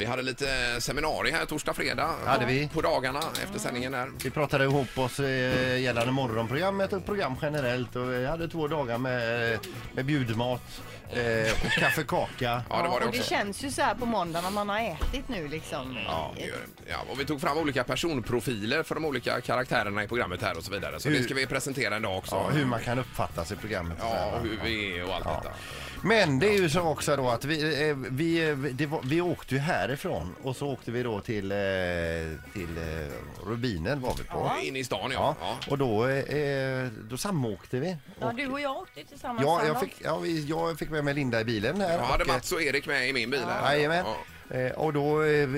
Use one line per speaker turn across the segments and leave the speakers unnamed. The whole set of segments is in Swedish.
Vi hade lite seminarium här torsdag, fredag
Hade vi.
på dagarna efter sändningen här.
Vi pratade ihop oss eh, gällande morgonprogrammet och program generellt och vi hade två dagar med, eh, med bjudmat eh, och kaffekaka.
Ja, det var det
och det
också.
känns ju så här på måndag när man har ätit nu liksom.
Ja, det gör det. ja, och vi tog fram olika personprofiler för de olika karaktärerna i programmet här och så vidare. Så det ska vi presentera en dag också.
Ja, hur man kan uppfattas i programmet.
Ja, hur vi är och allt detta.
Men det är ju så också då att vi, eh, vi, eh, det var, vi åkte ju härifrån och så åkte vi då till, eh, till eh, Rubinen var vi på.
In i stan, ja.
Ja,
ja.
och då, eh, då samåkte vi.
Ja,
Och-
du och jag åkte tillsammans.
Ja, jag
Sandra.
fick, ja, vi- jag fick med mig Linda i bilen här.
Jag hade
och, eh,
Mats och Erik med i min bil här.
Jajamän.
Ja.
Eh, Och då, eh,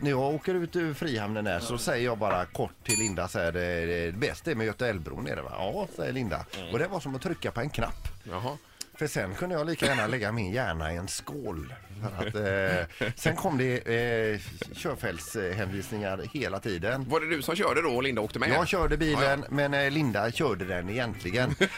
när jag åker ut ur Frihamnen här så säger jag bara kort till Linda så här, det, det bästa är med Göta älvbron är det va? Ja, säger Linda.
Mm.
Och det var som att trycka på en knapp.
Jaha.
För sen kunde jag lika gärna lägga min hjärna i en skål. För att, eh, sen kom det eh, körfältshänvisningar hela tiden.
Var det du som körde då och Linda åkte med?
Jag körde bilen,
Ja, ja.
men eh, Linda körde den egentligen.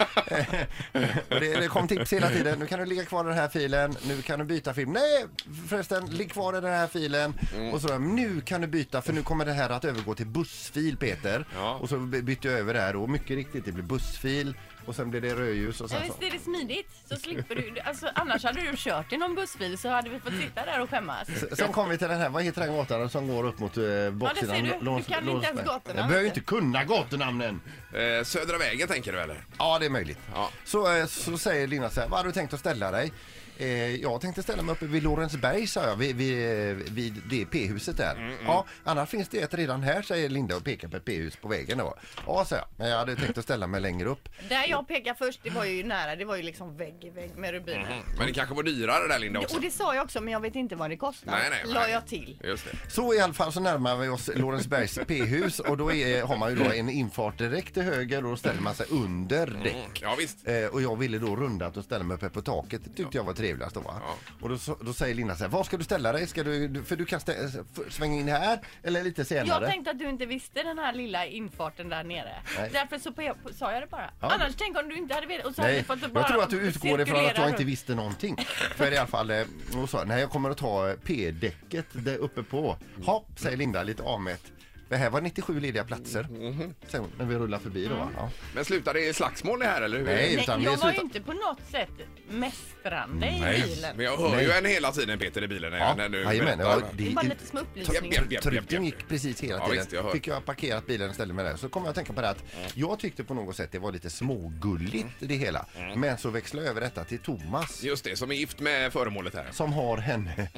och det, det kom tips hela tiden. Nu kan du ligga kvar i den här filen. Nu kan du byta film. Nej, förresten, ligg kvar i den här filen.
Mm.
Och så, nu kan du byta, för nu kommer det här att övergå till bussfil, Peter.
Ja.
Och så by- bytte jag över där och mycket riktigt, det blev bussfil. Och sen blev det rödljus och
Ja,
sen så.
visst är det smidigt? Så slipper du. Alltså, annars hade du kört i någon bussfil så hade vi fått sitta där och skämmas.
Sen kom vi till den här, vad heter den gatan som går upp mot eh,
ser
baksidan?
du.
Låns-
Du kan inte ens
Lånsberg.
gatorna,
Jag behöver ju
vet
inte
du.
kunna gatunamnen.
Eh, Södra vägen tänker du eller?
Ja, det är möjligt.
Ja.
Så, eh, så säger Linda så här, vad hade du tänkt att ställa dig? Eh, jag tänkte ställa mig uppe vid Lorensberg, sa jag, vid, vid, eh, vid det P-huset där. Ja, annars finns det ett redan här, säger Linda och pekar på ett P-hus på vägen då. Ja, sa jag, men jag hade tänkt att ställa mig längre upp.
Där jag pekade först, det var ju nära, det var ju liksom vägg i vägg med rubinen.
Mm,
Men det kanske var dyrare där Linda också?
Och det sa jag också, men jag vet inte vad det kostar.
Nej, nej,
La
nej.
jag till.
Just det.
Så i alla fall så närmar vi oss Lorensbergs P-hus och då är, har man ju då en infart direkt till höger och då ställer man sig under däck.
Mm. Ja, visst.
Eh, och jag ville då runda att och ställa mig uppe på taket. Det tyckte jag var trevligast då va?
Ja.
Och då, så- då säger Linda så här, var ska du ställa dig? Ska du, du- för du kan stä, eh, f- svänga in här eller lite senare.
Jag tänkte att du inte visste den här lilla infarten där nere.
Nej.
Därför så pe- sa jag det bara.
Ja.
Annars tänk om du inte hade vetat. Och så hade vi
Nej,
fått bara
jag tror att du utgår ifrån att
cirkulera
jag inte
runt.
visste någonting. För i alla fall, eh, hon sa, nej jag kommer att ta eh, P-däcket där uppe på. Hopp, säger Linda lite avmätt. Det här var 97 lediga platser.
Mm-hmm.
Säger hon, när vi rullar förbi då va? Ja.
Men slutade det i slagsmål det här eller? Hur?
Nej.
Nej,
utan vi
jag var ju
slutar-
inte på något sätt mästrande i bilen.
Men jag hör
Nej.
ju en hela tiden Peter i bilen när, jag- när du
jajamän,
berättar.
ja,
Det är bara
det-
lite små
Japp,
upplysningar.
japp, japp, japp, japp.
Truten gick precis hela
Ja,
tiden.
visst, jag hör. Mm.
Fick jag parkerat bilen och ställde mig där. Så kom jag att tänka på det att jag tyckte på något sätt det var lite smågulligt det hela.
Mm.
Men så växlade jag över detta till Thomas.
Just det, som är gift med föremålet här.
Som har henne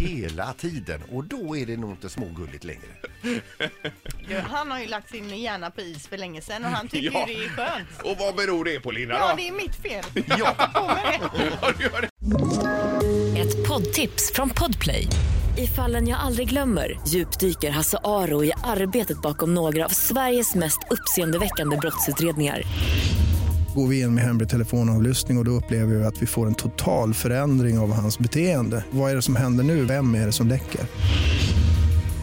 hela tiden. Och då är det nog inte smågulligt längre.
Du, Han har ju lagt sin hjärna på is för länge sedan och han tycker
Ja.
ju det är skönt.
Och vad beror det på Linda
Ja,
då?
det är mitt fel.
Ja.
På med det.
Ja, det gör det.
Ett poddtips från Podplay. I fallen jag aldrig glömmer djupdyker Hasse Aro i arbetet bakom några av Sveriges mest uppseendeväckande brottsutredningar.
Går vi in med hemlig telefonavlyssning och, och då upplever vi att vi får en total förändring av hans beteende. Vad är det som händer nu? Vem är det som läcker?